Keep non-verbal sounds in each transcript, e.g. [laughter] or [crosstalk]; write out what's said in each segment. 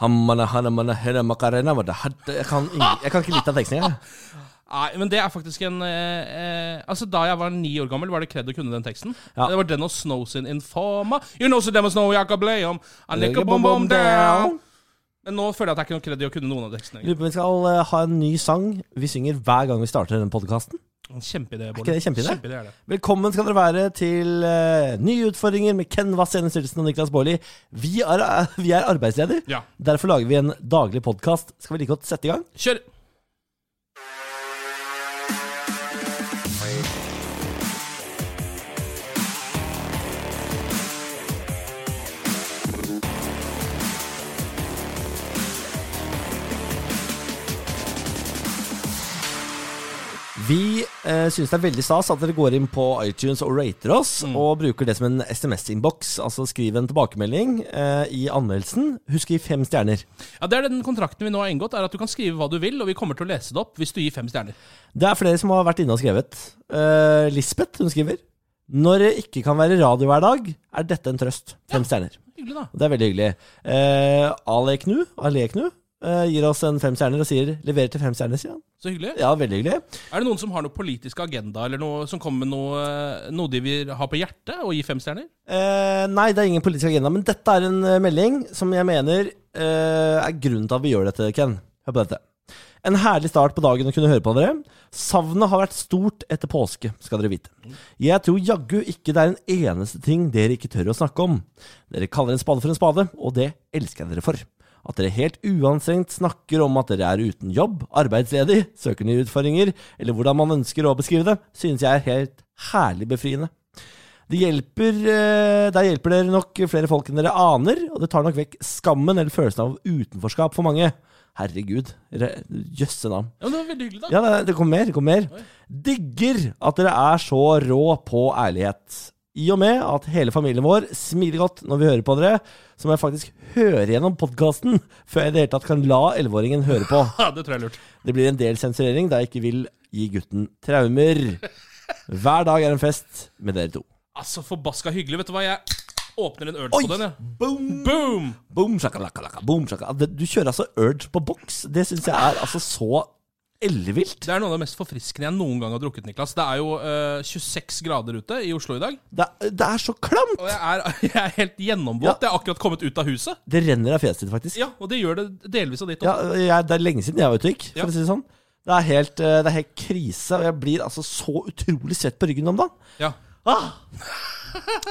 Hammana, hanamana, herama, karena, mada, hadda. Jeg kan, ing- jeg kan ikke litt av teksten engang. jeg. Nei, men det er faktisk en eh, eh, Altså, Da jeg var ni år gammel, var det kredd å kunne den teksten. Ja. Det var den og Snow sin Informa. You know so them as know Jacob Leom. I lick a bomb bomb down. Men nå føler jeg at det er ikke noe kredd i å kunne noen av tekstene. egentlig. Lurer på om vi skal eh, ha en ny sang vi synger hver gang vi starter denne podkasten. Kjempeidé, Bård. ikke det kjempeidé? er det. Velkommen skal dere være til eh, nye utfordringer med Ken Vass, Jenny Stilsen og Niklas Baarli. Vi, er, vi er arbeidsledige. Ja. Derfor lager vi en daglig podkast. Skal vi like godt sette i gang? Kjør! Vi eh, synes det er veldig stas at dere går inn på iTunes og rater oss, og bruker det som en SMS-innboks. Altså skriv en tilbakemelding eh, i anmeldelsen. Husk å gi fem stjerner. Ja, det er den kontrakten vi nå har inngått, er at du kan skrive hva du vil, og vi kommer til å lese det opp hvis du gir fem stjerner. Det er flere som har vært inne og skrevet. Eh, Lisbeth, hun skriver Når det ikke kan være radio hver dag, er dette en trøst. Fem stjerner. Hyggelig, da. Det er veldig hyggelig. Eh, Ale Knu, Ale Knu eh, gir oss en fem stjerner og sier 'leverer til fem stjerner', sier han. Så hyggelig. Ja, veldig hyggelig. Er det noen som har noe politisk agenda, eller noe som kommer med noe, eh, noe de vil ha på hjertet, og gi fem stjerner? Eh, nei, det er ingen politisk agenda, men dette er en eh, melding som jeg mener eh, er grunnen til at vi gjør dette, Ken. Hør på dette. En herlig start på dagen å kunne høre på dere. Savnet har vært stort etter påske, skal dere vite. Jeg tror jaggu ikke det er en eneste ting dere ikke tør å snakke om. Dere kaller en spade for en spade, og det elsker jeg dere for. At dere helt uanstrengt snakker om at dere er uten jobb, arbeidsledig, søker nye utfordringer, eller hvordan man ønsker å beskrive det, synes jeg er helt herlig befriende. Det hjelper, eh, der hjelper dere nok flere folk enn dere aner, og det tar nok vekk skammen eller følelsen av utenforskap for mange. Herregud. re- Jøsse navn. Ja, men Det var veldig hyggelig, da. Ja, det, det kommer mer. det kommer mer. Digger at dere er så rå på ærlighet. I og med at hele familien vår smiler godt når vi hører på dere, så må jeg faktisk høre gjennom podkasten før jeg i det hele tatt kan la elleveåringen høre på. Ja, [laughs] det tror jeg er lurt. Det blir en del sensurering da jeg ikke vil gi gutten traumer. Hver dag er en fest med dere to. Altså, forbaska hyggelig. Vet du hva, jeg åpner en øl Oi! på den, jeg. Boom! Boom! Boom, shakalaka, laka, boom, shaka. Det- Du kjører altså Urge på boks. Det syns jeg er altså så ellevilt. Det er noe av det mest forfriskende jeg noen gang har drukket, Niklas. Det er jo eh, 26 grader ute i Oslo i dag, Det, er- det er så klamt! og jeg er, [laughs] jeg er helt gjennomvåt. Jeg har akkurat kommet ut av huset. Det renner av fjeset ditt, faktisk. Ja, og det gjør det delvis av ditt også. Ja, jeg, det er lenge siden jeg var ute og gikk, for Ja. å si det sånn. Det er, helt, eh, det er helt krise, og jeg blir altså så utrolig svett på ryggen om dagen. Ja. Ah!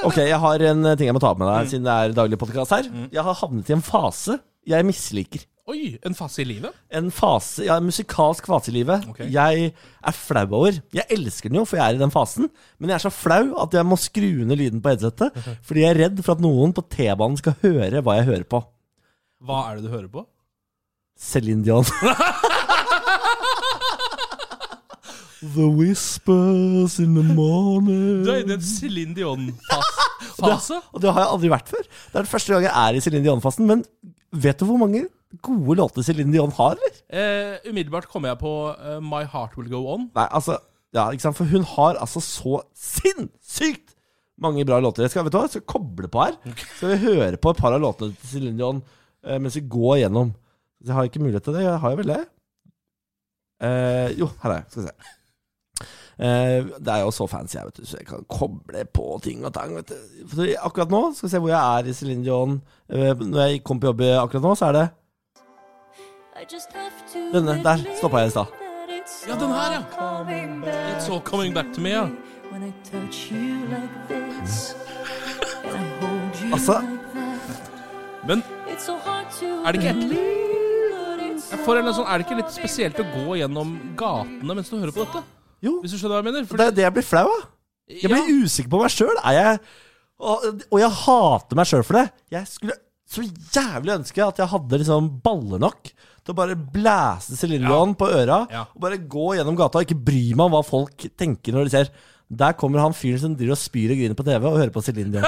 Ok, jeg har en ting jeg må ta opp med deg, Mm. siden det er daglig podkast her. Jeg har havnet i en fase jeg misliker. Oi, en fase i livet? en fase, ja, en musikalsk fase i livet Ok. jeg er flau over. Jeg elsker den jo, for jeg er i den fasen, men jeg er så flau at jeg må skru ned lyden på [laughs] headsetet fordi jeg er redd for at noen på T-banen skal høre hva jeg hører på. Hva er det du hører på? Céline [laughs] Dion. The whispers in the morning Du er inne i en Céline [laughs] Dion-fase. Og det har jeg aldri vært før. Det er den første gang jeg er i Céline Dion-fasen, men vet du hvor mange gode låter Céline Dion har, eller? Eh, umiddelbart kommer jeg på eh, My Heart Will Go On. Nei, altså Ja, ikke sant? For hun har altså så sinnssykt mange bra låter. Jeg skal, vet du hva? Jeg skal koble på her. Så vi hører på et par av låtene til Céline Dion eh, mens vi går gjennom. Jeg har ikke mulighet til det. Jeg har jo vel det? Eh, jo, her er jeg. Skal vi se. Eh, det er jo så fancy her, vet du, så jeg kan koble på ting og tang. Vet du. For akkurat nå, skal vi se hvor jeg er i Céline Dion. Eh, når jeg kom på jobb akkurat nå, så er det Denne der stoppa jeg i stad. Ja, den her, ja. It's all coming back to me, ja. Altså, Men Er det ikke ekte? ekte? for en eller annen sånn, er det ikke litt spesielt å gå gjennom gatene mens du hører på dette? jo. Hvis du skjønner hva jeg mener? Det er det jeg blir flau av. Jeg blir usikker på meg sjøl. Og, og jeg hater meg sjøl for det. Jeg skulle så jævlig ønske at jeg hadde liksom baller nok til å bare blæse silinderen på øra Ja. og bare gå gjennom gata og ikke bry meg om hva folk tenker når de ser. Der kommer han fyren som driver og spyr og griner på TV og hører på Céline [laughs] Dion.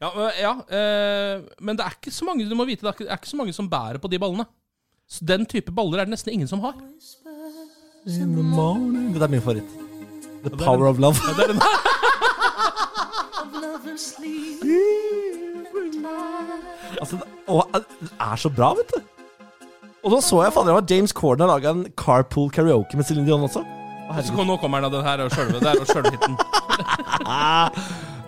Ja, øh, ja øh, men det er ikke så mange du må vite, det er ikke, det er ikke så mange som bærer på de ballene. Så Den type baller er det nesten ingen som har. Det er min favoritt. The Power of Love. Det [laughs] er den, Altså, og det er så bra, vet du. Og da så jeg fader, det var James Corden har laga en carpool karaoke med Céline Dion også. Å, Så herregud. kom, nå kommer den av den her og sjølve. Det er jo sjølvhiten.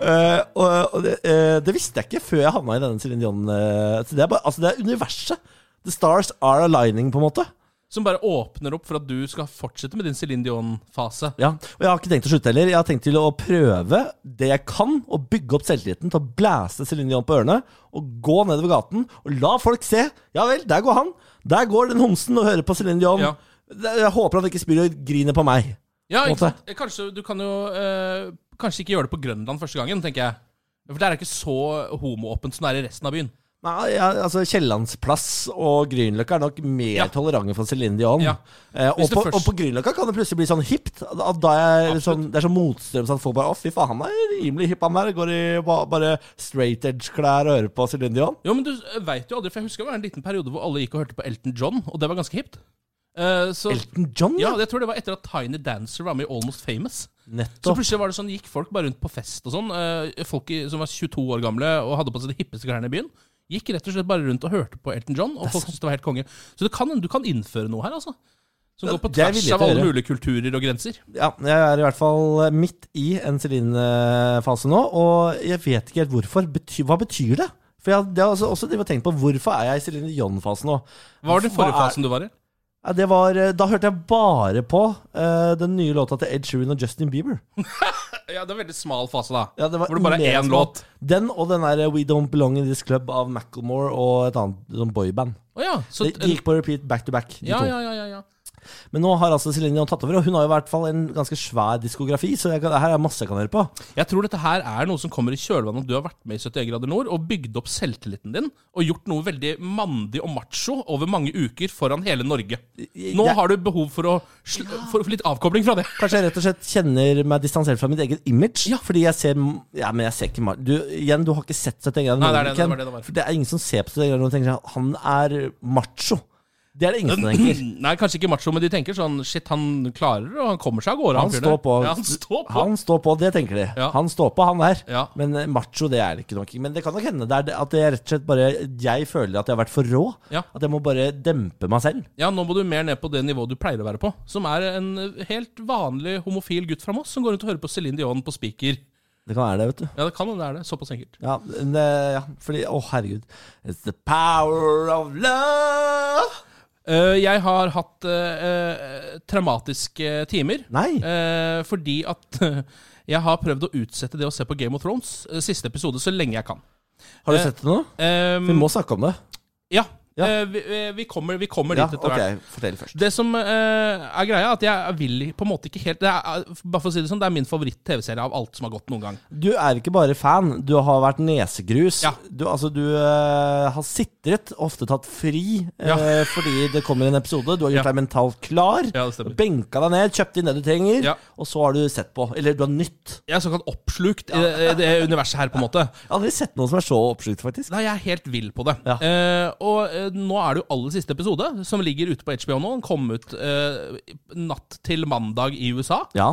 Eh, og og det, eh, det visste jeg ikke før jeg havna i denne Céline Dion. eh, så det, er bare, altså, det er universet. The stars are aligning, på en måte. Som bare åpner opp for at du skal fortsette med din Céline Dion-fase. Ja, Og jeg har ikke tenkt å slutte heller. Jeg har tenkt til å prøve det jeg kan, og bygge opp selvtilliten til å blæse Céline Dion på ørene, og gå nedover gaten og la folk se. Ja vel, der går han. Der går den homsen og hører på Céline Dion. Ja. Det- Jeg håper han ikke spyr og griner på meg. Ja, Måte. ikke sant? Kanskje du kan jo eh, Kanskje ikke gjøre det på Grønland første gangen, tenker jeg. For der er det ikke så homoåpent som det er i resten av byen. Nei, ja, altså Kiellandsplass og Grünerløkka er nok mer Ja. tolerante for Céline Dion. Ja. Eh, og, Hvis du på, først- og på Grünerløkka kan det plutselig bli sånn hipt. Da da er Absolutt. sånn, det er sånn motstrøms at folk bare Å, fy faen, han er rimelig hipp, han der. Går i ba, bare straight edge-klær og hører på Céline Dion. Jo, men du veit jo aldri, for jeg husker det var en liten periode hvor alle gikk og hørte på Elton John, og det var ganske hipt. Eh, så, Elton John, ja, ja. jeg tror det var etter at Tiny Dancer var med i Almost Famous. Så Nettopp. plutselig var det sånn, gikk folk bare rundt på fest og sånn. eh, folk i, som var 22 år gamle og hadde på seg de hippeste klærne i byen. Gikk rett og slett bare rundt og hørte på Elton John, og folk syntes det var helt konge. Så det kan, du kan innføre noe her, altså. Som Ja, går på det er jeg tvers villig av til å alle gjøre. mulige kulturer og grenser. Ja, jeg er i hvert fall eh, midt i en Celine-fase nå, og jeg vet ikke helt hvorfor. Bety hva betyr det? For jeg, det har også, også drevet og tenkt på hvorfor er jeg i Celine Dion-fasen nå. Hva var den forrige Hva er- fasen du var i? Ja, det var, eh, da hørte jeg bare på eh, den nye låta til Ed Sheeran og Justin Bieber. Ja, det er en veldig smal fase, da. Ja, det var Hvor det bare er mer én som- låt. Den og den der eh, We Don't Belong In This Club av Macclemore og et annet sånn boyband. Å ja. Så, De, de gikk på repeat back to back, de eh, ja, to. ja, ja, ja, ja. Men nå har altså Celine Dion tatt over, og hun har jo i hvert fall en ganske svær diskografi, så jeg kan, her er masse jeg kan høre på. Jeg tror dette her er noe som kommer i kjølvannet av at du har vært med i 71 grader nord og bygd opp selvtilliten din og gjort noe veldig mandig og macho over mange uker foran hele Norge. Nå Jeg- har du behov for, å sl for litt avkobling fra det. Kanskje jeg rett og slett kjenner meg distansert fra mitt eget image. Ja. Fordi jeg ser Ja, men jeg ser ikke Mar- Du, igjen, du har ikke sett 71 grader Nei, det nord, er det, det Ken. var det det var. For det er ingen som ser på 71 grader nord og tenker at han er macho. Det er det ingen som tenker. [laughs] Nei, kanskje ikke macho, men de tenker sånn Shit, han klarer det, og han kommer seg av gårde. Han fyren står der. på. Ja, han står på. Han står på, det tenker de. Ja. Han står på, han der. Ja. Men eh, macho, det er det ikke nok. Men det kan nok hende det er det at jeg rett og slett bare Jeg føler at jeg har vært for rå. Ja. At jeg må bare dempe meg selv. Ja, nå må du mer ned på det nivået du pleier å være på. Som er en helt vanlig homofil gutt fra Moss som går rundt og hører på Céline Dion på spiker. Det kan være det, vet du. Ja, det kan hende det er det. Såpass enkelt. Ja, men, eh, ja fordi Å, herregud. It's the power of love. Eh, jeg har hatt eh, eh, traumatiske timer. Nei. eh, fordi at jeg har prøvd å utsette det å se på Game of Thrones eh, siste episode så lenge jeg kan. Har du eh, sett det nå? Ehm, Vi må snakke om det. Ja. Ja. eh, vi, eh, vi kommer, vi kommer Ja, dit etter ok, hvert. Fortell først. Det som eh, er greia, er at jeg vil på en måte ikke helt det er, Bare for å si det sånn, det er min favoritt-TV-serie av alt som har gått noen gang. Du er ikke bare fan, du har vært nesegrus. Ja. Du, altså, du eh, har sitret, ofte tatt fri, eh, Ja. [laughs] fordi det kommer en episode. Du har Ja. gjort deg mentalt klar. Ja, det stemmer. Benka deg ned, kjøpt inn det du trenger, Ja. og så har du sett på. Eller du har nytt. Jeg er såkalt oppslukt i det, i det universet her, på en måte. Jeg har aldri sett noen som er så oppslukt, faktisk. Nei, jeg er helt vill på det. Ja. Eh, og eh, nå er det jo aller siste episode, som ligger ute på HBO nå. Den kom ut eh, natt til mandag i USA. Ja.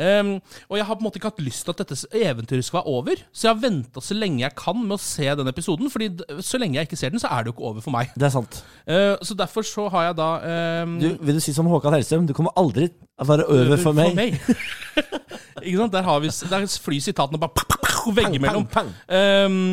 Ehm, og jeg har på en måte ikke hatt lyst til at dette eventyret skal være over, så jeg har venta så lenge jeg kan med å se den episoden, Fordi d- så lenge jeg ikke ser den, så er det jo ikke over for meg. Det er sant. Eh, så derfor så har jeg da ehm, Du, vil du si som Håkan Hellstrøm, du kommer aldri til å være over for meg. [laughs] ikke sant? Der, har vi, s- der flyr sitatene bare veggimellom. Pang, pang, Ehm,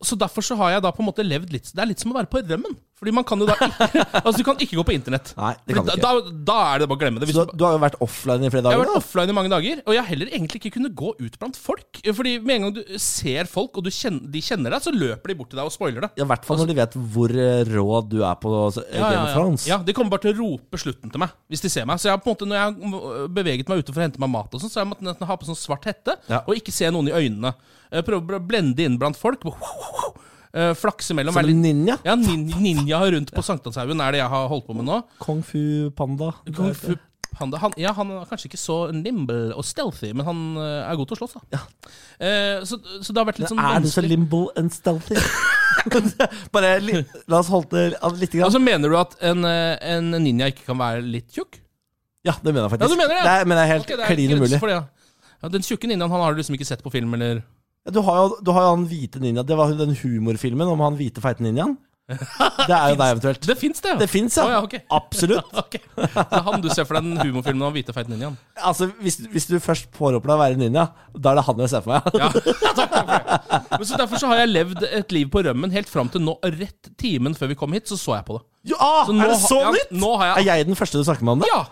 så derfor så har jeg da på en måte levd litt Det er litt som å være på rømmen. Fordi man kan jo da ikke [laughs] Altså, du kan ikke gå på internett. Nei, det kan du Fordi ikke. da, da, da er det bare å glemme det. Hvis Så du, har- du har jo vært offline i flere dager. jeg har vært da. offline i mange dager, og jeg har heller egentlig ikke kunnet gå ut blant folk. Fordi med en gang du ser folk, og du kjenner, de kjenner deg, så løper de bort til deg og spoiler det. I hvert fall når de vet hvor eh, rå du er på eh, Game of Thrones. Altså- ja, De kommer bare til å rope slutten til meg hvis de ser meg. Så jeg har på en måte, når jeg har beveget meg ute for å hente meg mat, og sånn, så har jeg måttet nesten ha på sånn svart hette Ja. og ikke se noen i øynene. Eh, Prøve å blende inn blant folk. Eh, Flakse mellom. Som være en litt- ninja. Ja, nin ninja rundt på Sankthanshaugen er det jeg har holdt på med nå. Kung Fu Panda. Kung Fu Panda Eh, han, ja, han er kanskje ikke så nimble og stealthy, men han eh, er god til å slåss, da. Eh, så, så det har vært litt sånn Er du så vanskelig. limbo and [laughs] stealthy? Bare li La oss holde det av lite grann. Altså, mener du at en, eh, en ninja ikke kan være litt tjukk? Ja, det mener jeg faktisk. Ja, du mener det, ja. Det er, men det er helt Ok, det er klin grenser umulig. for det, ja. Ja, den tjukke ninjaen han har du liksom ikke sett på film, eller? Ja, Du har jo, du har jo han hvite ninja. Det var jo den humorfilmen om han hvite feite ninjaen. Det er jo deg eventuelt. Det fins, det! ja. Det fins, ja. Å, ja, ok. Absolutt. Ok. Så det er han du ser for deg den humorfilmen om hvite feite ninjaen? Altså, hvis, hvis du først påroper deg å være ninja, da er det han jeg ser for meg. Ja. [laughs] Takk for det. Men så Derfor så har jeg levd et liv på rømmen helt fram til nå. Rett timen før vi kom hit, så så jeg på det. Jo, ah, nå er det så har- ja, nytt?! nå har jeg- Er jeg den første du snakker med om det? Ja!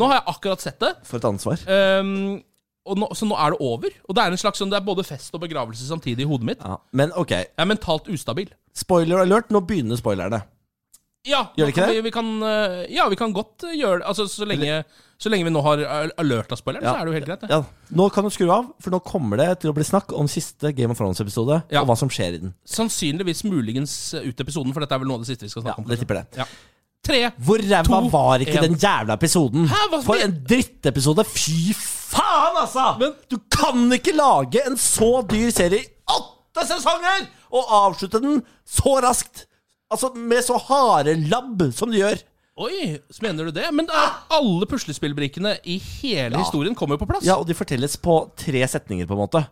Nå har jeg akkurat sett det. For et ansvar. Ehm, og nå, så nå er det over. Og det er en slags sånn, det er både fest og begravelse samtidig i hodet mitt. Ja. Men ok, Jeg er mentalt ustabil. spoiler alert. Nå begynner spoilerne. Ja, Gjør nå det ikke kan det? Vi, vi kan, eh, ja, vi kan godt eh, gjøre det. Altså, så, lenge, så lenge vi nå har al- alert av spoileren, Ja. så er det jo helt greit. Det. Ja. Nå kan du skru av, for nå kommer det til å bli snakk om siste Game of Thrones-episode, Ja. og hva som skjer i den. Sannsynligvis muligens eh, ut episoden, for dette er vel noe av det siste vi skal Ja, snakke om. det kanskje. tipper det. Ja. Tre! Hvor ræva To, var ikke en. den jævla episoden? Hæ, hva- For en drittepisode! Fy faen, altså! Men- du kan ikke lage en så dyr serie i åtte sesonger og avslutte den så raskt! Altså, med så harde labb som du gjør. Oi, så mener du det? Men det er, alle puslespillbrikkene i hele historien kommer jo på plass. Ja, og de fortelles på tre setninger, på en måte.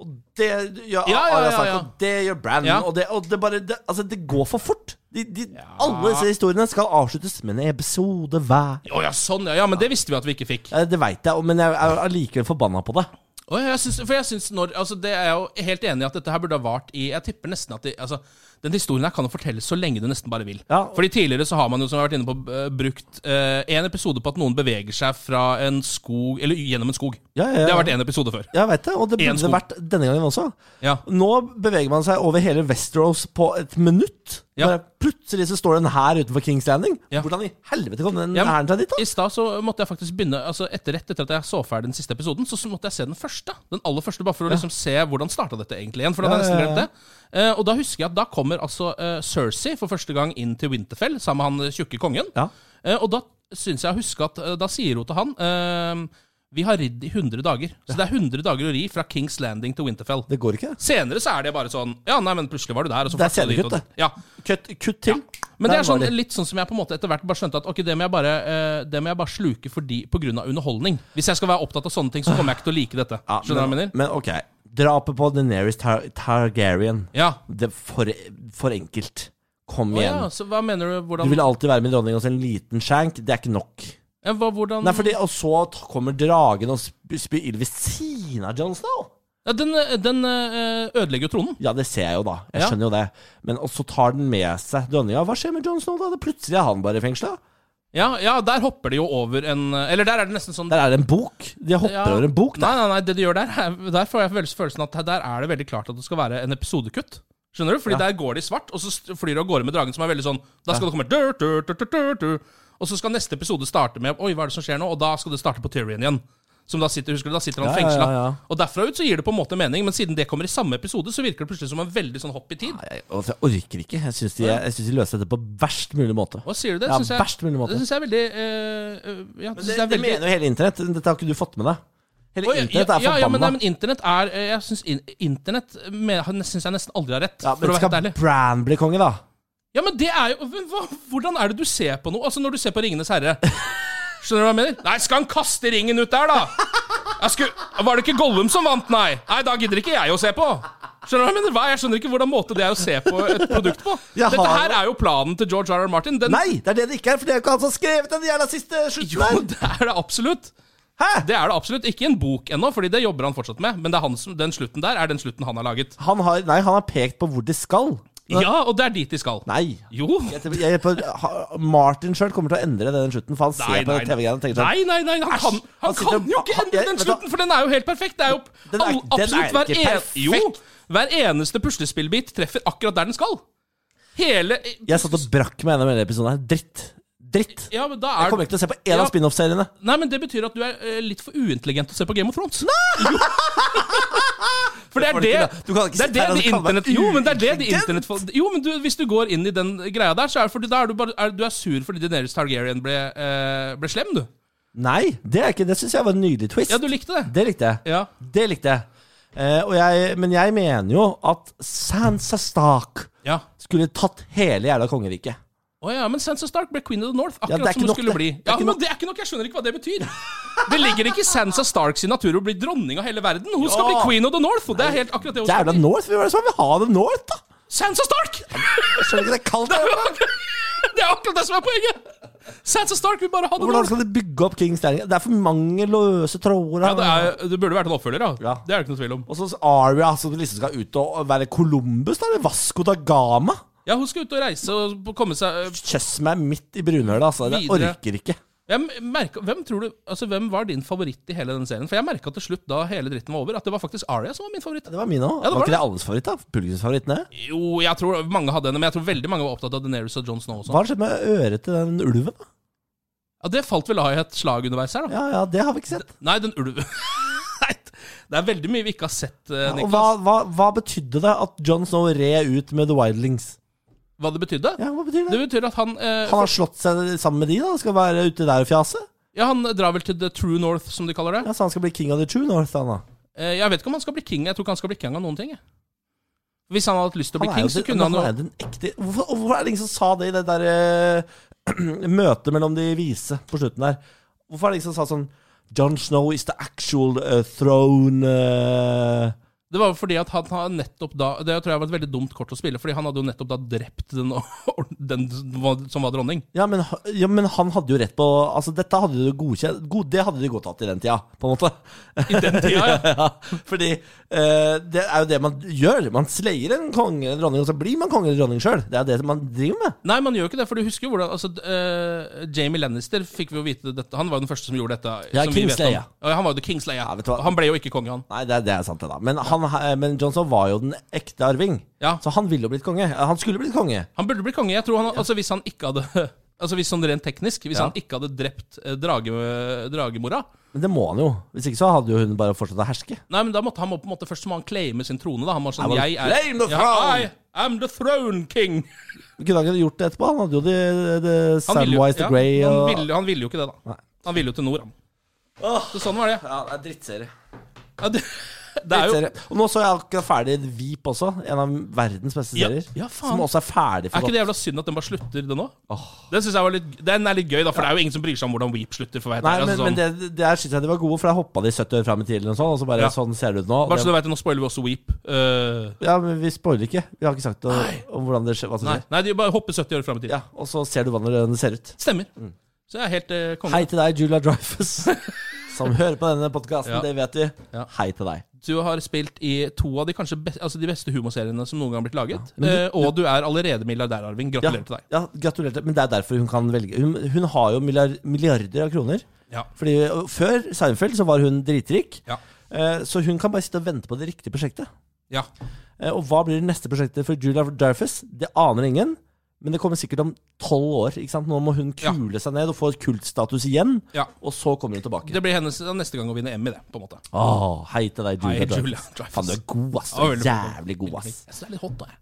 Og det gjør Ja, ja, Arya ja, Stark, ja. og det gjør Brandon, Ja. og, det, og det bare det, Altså, det går for fort. De, de, Alle disse historiene skal avsluttes med en episode hver. Å ja, sånn, ja, ja. Men det visste vi at vi ikke fikk. Ja, Det veit jeg, men jeg er allikevel forbanna på det. Å, ja, jeg syns- for jeg syns når Altså, det er jeg jo helt enig i at dette her burde ha vart i Jeg tipper nesten at de, altså, den historien her kan jo fortelles så lenge du nesten bare vil. Ja. Fordi tidligere så har man jo, som jeg har vært inne på, b- eh, brukt én episode på at noen beveger seg fra en skog Eller gjennom en skog. Ja, ja, ja. Det har vært én episode før. Jeg vet det, og det En burde sko. det vært denne gangen også. Ja. Nå beveger man seg over hele Westeros på et minutt. Ja. Bare Plutselig så står det en hær utenfor Kings Landing. Ja. Hvordan i helvete kom den Ja, men- hæren seg dit, da? I stad så måtte jeg faktisk begynne altså etter, Rett etter at jeg så ferdig den siste episoden, så, så måtte jeg se den første. Den aller første, bare for å liksom se hvordan starta dette egentlig igjen. For da hadde Ja, jeg ja, nesten ja. glemt det. Eh, og da husker jeg at da kommer altså eh, Cersei for første gang inn til Winterfell sammen med han eh, tjukke kongen. Ja. Eh, og da syns jeg å huske at eh, da sier hun til han eh, Vi har ridd i 100 dager. Så det er 100 dager å ri fra Kings Landing til Winterfell. Det går ikke. Senere så er det bare sånn Ja, nei, men plutselig var du der. Og så Det er flyttet du dit, og- scenekutt, det. Ja. Kutt, kutt til. Men det Der er sånn, var de. litt sånn som jeg på en måte etter hvert bare skjønte at ok, det må jeg bare, eh, det må jeg bare sluke fordi, på grunn av underholdning. Hvis jeg skal være opptatt av sånne ting, så kommer jeg ikke til å like dette. Ja, Skjønner du hva jeg men, mener? Men ok. Drapet på Daenerys Tar Targaryen. Ja. Det er for, for enkelt. Kom Å, igjen. ja. altså. Så hva mener du? Du Hvordan, vil alltid være med dronning hos en liten skjenk. Det er ikke nok. ja, hva, hvordan Nei, fordi, Og så t- kommer dragen og sp- spyr ild ved siden av Jon Snow. ja, Den, eh, den eh, ødelegger jo tronen. Ja, det ser jeg jo, da. Jeg Ja. skjønner jo det. Men og så tar den med seg dronninga. Hva skjer med Jon Snow, da? Det plutselig er han bare i fengsla. Ja, ja, der hopper de jo over en eh, Eller der er det nesten sånn Der er det en bok. De hopper ja. over en bok. Da. Nei, nei, nei, det de gjør der, er- der får jeg følelsen- følelsen at der er det veldig klart at det skal være en episodekutt. Skjønner du? Fordi der går de i svart, og så st- flyr de av gårde med dragen som er veldig sånn Da skal det komme dur, dur, dur, dur, dur, dur. Og så skal neste episode starte med Oi, hva er det som skjer nå? Og da skal det starte på Tyrion igjen. Som da sitter, husker du, da sitter Ja, han ja, fengsla. ja, ja. Og derfra ut så gir det på en måte mening, men siden det kommer i samme episode, så virker det plutselig som en veldig sånn hopp i tid. Nei, Jeg, altså, jeg orker ikke. Jeg syns de, jeg synes de løser dette på verst mulig måte. Hva sier du det? Ja, Synes jeg- verst mulig måte. Det syns jeg er veldig eh, eh, ja, det, Det, synes jeg er det veldig mener jo hele internett. Dette har ikke du fått med deg. Hele Oi, ja, internett er ja, ja, men, forbanna. Ja, nei, men internett er eh, Jeg syns in, internett syns jeg nesten aldri har rett, men for å være helt skal ærlig. Bran bli konge, da? Ja, men det er jo men hva, Hvordan er det du ser på noe? Altså, når du ser på [laughs] Ringenes herre Skjønner du hva jeg mener? Nei, skal han kaste ringen ut der, da? Jeg skulle, var det ikke Gollum som vant, nei? Nei, da gidder ikke jeg å se på. Skjønner du hva Jeg mener? Hva? Jeg skjønner ikke hvordan måte det er å se på [laughs] et produkt på. Jeg Dette har her jo- er jo planen til George R.R. Martin. Den, Nei, det er det det ikke er, for det er jo ikke han som har skrevet den jævla siste [laughs] Jo, slutten der! det er det absolutt. Hæ? Det er det absolutt. Ikke i en bok ennå, Fordi det jobber han fortsatt med. Men det er han som, den slutten der er den slutten han har laget. Han har, nei, han har pekt på hvor de skal. Ja, og det er dit de skal. Nei. Jo. Jeg, jeg, på, ha- Martin sjøl kommer til å endre den slutten, for han ser Nei, på nei, TV-greiene og tenker sånn Nei, nei, nei, han kan, han han sitter kan og- jo ikke han- endre jeg- den vet du slutten, for den er jo helt perfekt. Det er jo Den er- all- den er absolutt hver, ikke en, jo, perfekt. hver eneste puslespillbit treffer akkurat der den skal. Hele Jeg satt og brakk meg gjennom hele episoden her. Dritt. Dritt. Ja, men da Jeg er kommer ikke til å se på én Ja. av spin-off-seriene. Nei, men det betyr at du er eh, litt for uintelligent til å se på Game of Thrones. Nei! [laughs] [laughs] For det er får du det ikke, da. Du kan ikke det er sitte det her og de kalle meg internett Jo, men det er det de uintelligent. internett Jo, men du, hvis du går inn i den greia der, så er det fordi da er du bare er, Du er sur fordi Daenerys Targaryen ble, eh, ble slem, du. Nei, det er ikke Det syns jeg var en nydelig twist. Ja, du likte det. Det likte jeg. Ja. Det likte jeg. Eh, og jeg. Men jeg mener jo at Sansa Stark Ja. skulle tatt hele jævla kongeriket. Å ja, men Sansa Stark ble Queen of the North, Ja, akkurat det er ikke som hun nok, skulle det. bli. Det er Ja, ikke men nok. det er ikke nok, Jeg skjønner ikke hva det betyr. Det ligger ikke i Sansa Starks natur å bli dronning av hele verden. Hun Ja. skal bli Queen of the North, og det er helt akkurat det hun Jævla skal bli. North! Hvem er det som vil ha The North, da? Sansa Stark! Jeg skjønner ikke det er kaldt her. Det er akkurat det som er poenget! Sansa Stark vil bare ha det Hvordan North. skal de bygge opp Kings Landing? Det er for mange løse tråder. Ja, det, er, det burde vært en oppfølger, ja. Ja. Det er det ikke noe tvil om. Og så Aria som liksom skal ut og være Columbus, da? Eller Vasco da Gama? Ja, hun skal ut og reise og komme seg Kjøss meg midt i brunhølet, altså. Jeg Videre. orker ikke. Jeg merket, hvem, tror du, altså, hvem var din favoritt i hele den serien? For jeg merka til slutt, da hele dritten var over, at det var faktisk Aria som var min favoritt. Det var mine òg. Ja, det var, var ikke det alles favoritt, da? Publikums favoritt, nei? Jo, jeg tror mange hadde henne, men jeg tror veldig mange var opptatt av Daenerys og Jon Snow også. Hva har skjedd med øret til den ulven? da? Ja, Det falt vel av i et slag underveis her, da. Ja, ja, det har vi ikke sett. Nei, den ulven [laughs] Nei, det er veldig mye vi ikke har sett, eh, Og hva, Niklas. hva, hva betydde det at John Snow red ut med The Wildlings? Hva, det betydde? Ja, hva betyr Det det? betyr at han eh, Han har slått seg sammen med de, da? Skal være ute der og fjase? Ja, han drar vel til The True North, som de kaller det. Ja, Så han skal bli king of the true north, han da? Eh, jeg vet ikke om han skal bli king. Jeg tror ikke han skal bli king av noen ting. jeg. Hvis han hadde hatt lyst til å bli Han er king, jo så den- kunne han jo er jo den ekte hvorfor, og hvorfor er det ingen som sa det i det der eh, [clears throat] møtet mellom de vise på slutten der? Hvorfor er det ingen som sa sånn John Snow is the actual eh, throne eh, Det var jo fordi at han har nettopp da Det tror jeg var et veldig dumt kort å spille, fordi han hadde jo nettopp da drept den, [laughs] den som var dronning. ja, men, ha- ja, men han hadde jo rett på Altså, dette hadde du godkjent god, Det hadde de godtatt i den tida, på en måte. I den tida, [laughs] ja. [laughs] ja, fordi eh, det er jo det man gjør. Man slayer en konge eller dronning, og så blir man konge eller dronning sjøl. Det er jo det man driver med. Nei, man gjør jo ikke det, for du husker jo hvordan altså, eh, Jamie Lannister fikk vi jo vite dette. Han var jo den første som gjorde dette. Ja, som vi vet om. Kingslayer. Ja, han var jo The Kingslayer. vet du hva? han ble jo ikke konge, han. Nei, det, er- det er sant, det, da. Men, han, eh, men Johnson var jo den ekte arving. Ja. Så han ville jo blitt konge. Han skulle blitt konge. Han burde bli konge. Jeg tror han, altså Hvis han ikke hadde [laughs] Altså hvis sånn rent teknisk Hvis Ja. han ikke hadde drept eh, drage, dragemora Men det må han jo. Hvis ikke så hadde jo hun bare fortsatt å herske. Nei, men da måtte han må på en måte først må han claime sin trone. da Han må I sånn will Jeg er claim the Ja, throne. I am the throne king. Vi kunne han ikke gjort det etterpå. Han hadde jo de, de Han ville jo- Samwise the Grey ja, og han, ville, han ville jo ikke det, da. Nei. Han ville jo til nord, han. Så sånn var det. Ja, det er drittserie. Ja, [laughs] det, det er jo Drittserie. Og nå så jeg akkurat ferdig Veep også. En av verdens beste Ja, serier. ja, faen. Som også er ferdig er for ikke godt. det jævla synd at den bare slutter, den òg? Den synes jeg var litt Den er litt gøy, da, for det er jo ingen som bryr seg om hvordan Weep slutter. For å være helt Nei, ærlig, men, altså, men sånn. det, det her syns jeg de var gode, for der hoppa de 70 år fram i tiden, og sånn, og så bare Ja. sånn ser det ut nå. Bare så Det, du vet, Nå spoiler vi også Weep. Eh, ja, men Vi spoiler ikke. Vi har ikke sagt noe om hvordan det skjer. Hva som nei, skjer. nei, de bare hopper 70 år fram i tid. Ja, og så ser du hvordan det ser ut. Stemmer. Så jeg er helt eh, konge. Hei til deg, Julia Dreyfus, [laughs] som hører på denne podkasten. Ja. Det vet vi. Ja. Hei til deg. Du har spilt i to av de kanskje best, altså de beste humorseriene som noen gang har blitt laget. men du- eh, og du er allerede milliardærarving. Ja, Gratulerer til deg. ja, gratulerer. til- Men det er derfor hun kan velge. Hun, hun har jo milliard, milliarder av kroner. Ja. Fordi og Før Seinfeld så var hun dritrik, Ja. Eh, så hun kan bare sitte og vente på det riktige prosjektet. ja. Eh, Og hva blir det neste prosjektet for Julia Dreyfus? Det aner ingen. Men det kommer sikkert om tolv år. ikke sant? Nå må hun Ja. kule seg ned og få kultstatus igjen. Ja. Og så kommer hun tilbake. Det blir hennes neste gang å vinne Emmy, det. på en måte Åh, hei til deg, Julia Hei, Dreyfus. Julia Dreyfus. Faen, du er god, ass. Ja, veldig flott. Jævlig god, ass. Jeg synes det er litt hot, da. jeg.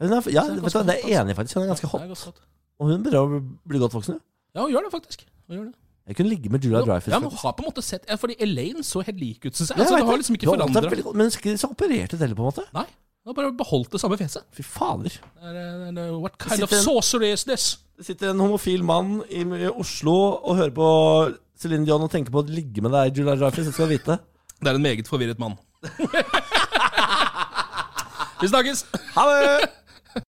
Hun er, ja, Så det vet er du, hva, det ganske hot, er ass. enig, faktisk. Hun er ganske Det er hot. ganske hot. Og hun begynner å bli godt voksen. jo. Ja, hun gjør det faktisk. Hun gjør det. Jeg kunne ligge med Julia Dreyfus. ja, men faktisk. hun har på en måte sett ja, Fordi Elaine så helt lik ut, syns jeg. Ja, jeg Altså, vet det har det. liksom ikke Du har alltid vært forandra veldig god, Men hun skulle ikke så operert ut heller, på en måte. Nei. Hun har bare beholdt det samme fjeset. Fy fader. Det er, eh, det er- What kind of Sitter en- sorcery is this? Det sitter en homofil mann i Oslo og hører på Céline Dion og tenker på å ligge med deg, Julia Dreyfus. Jeg skal vite. Det er en meget forvirret mann. [laughs] Vi snakkes! Ha det!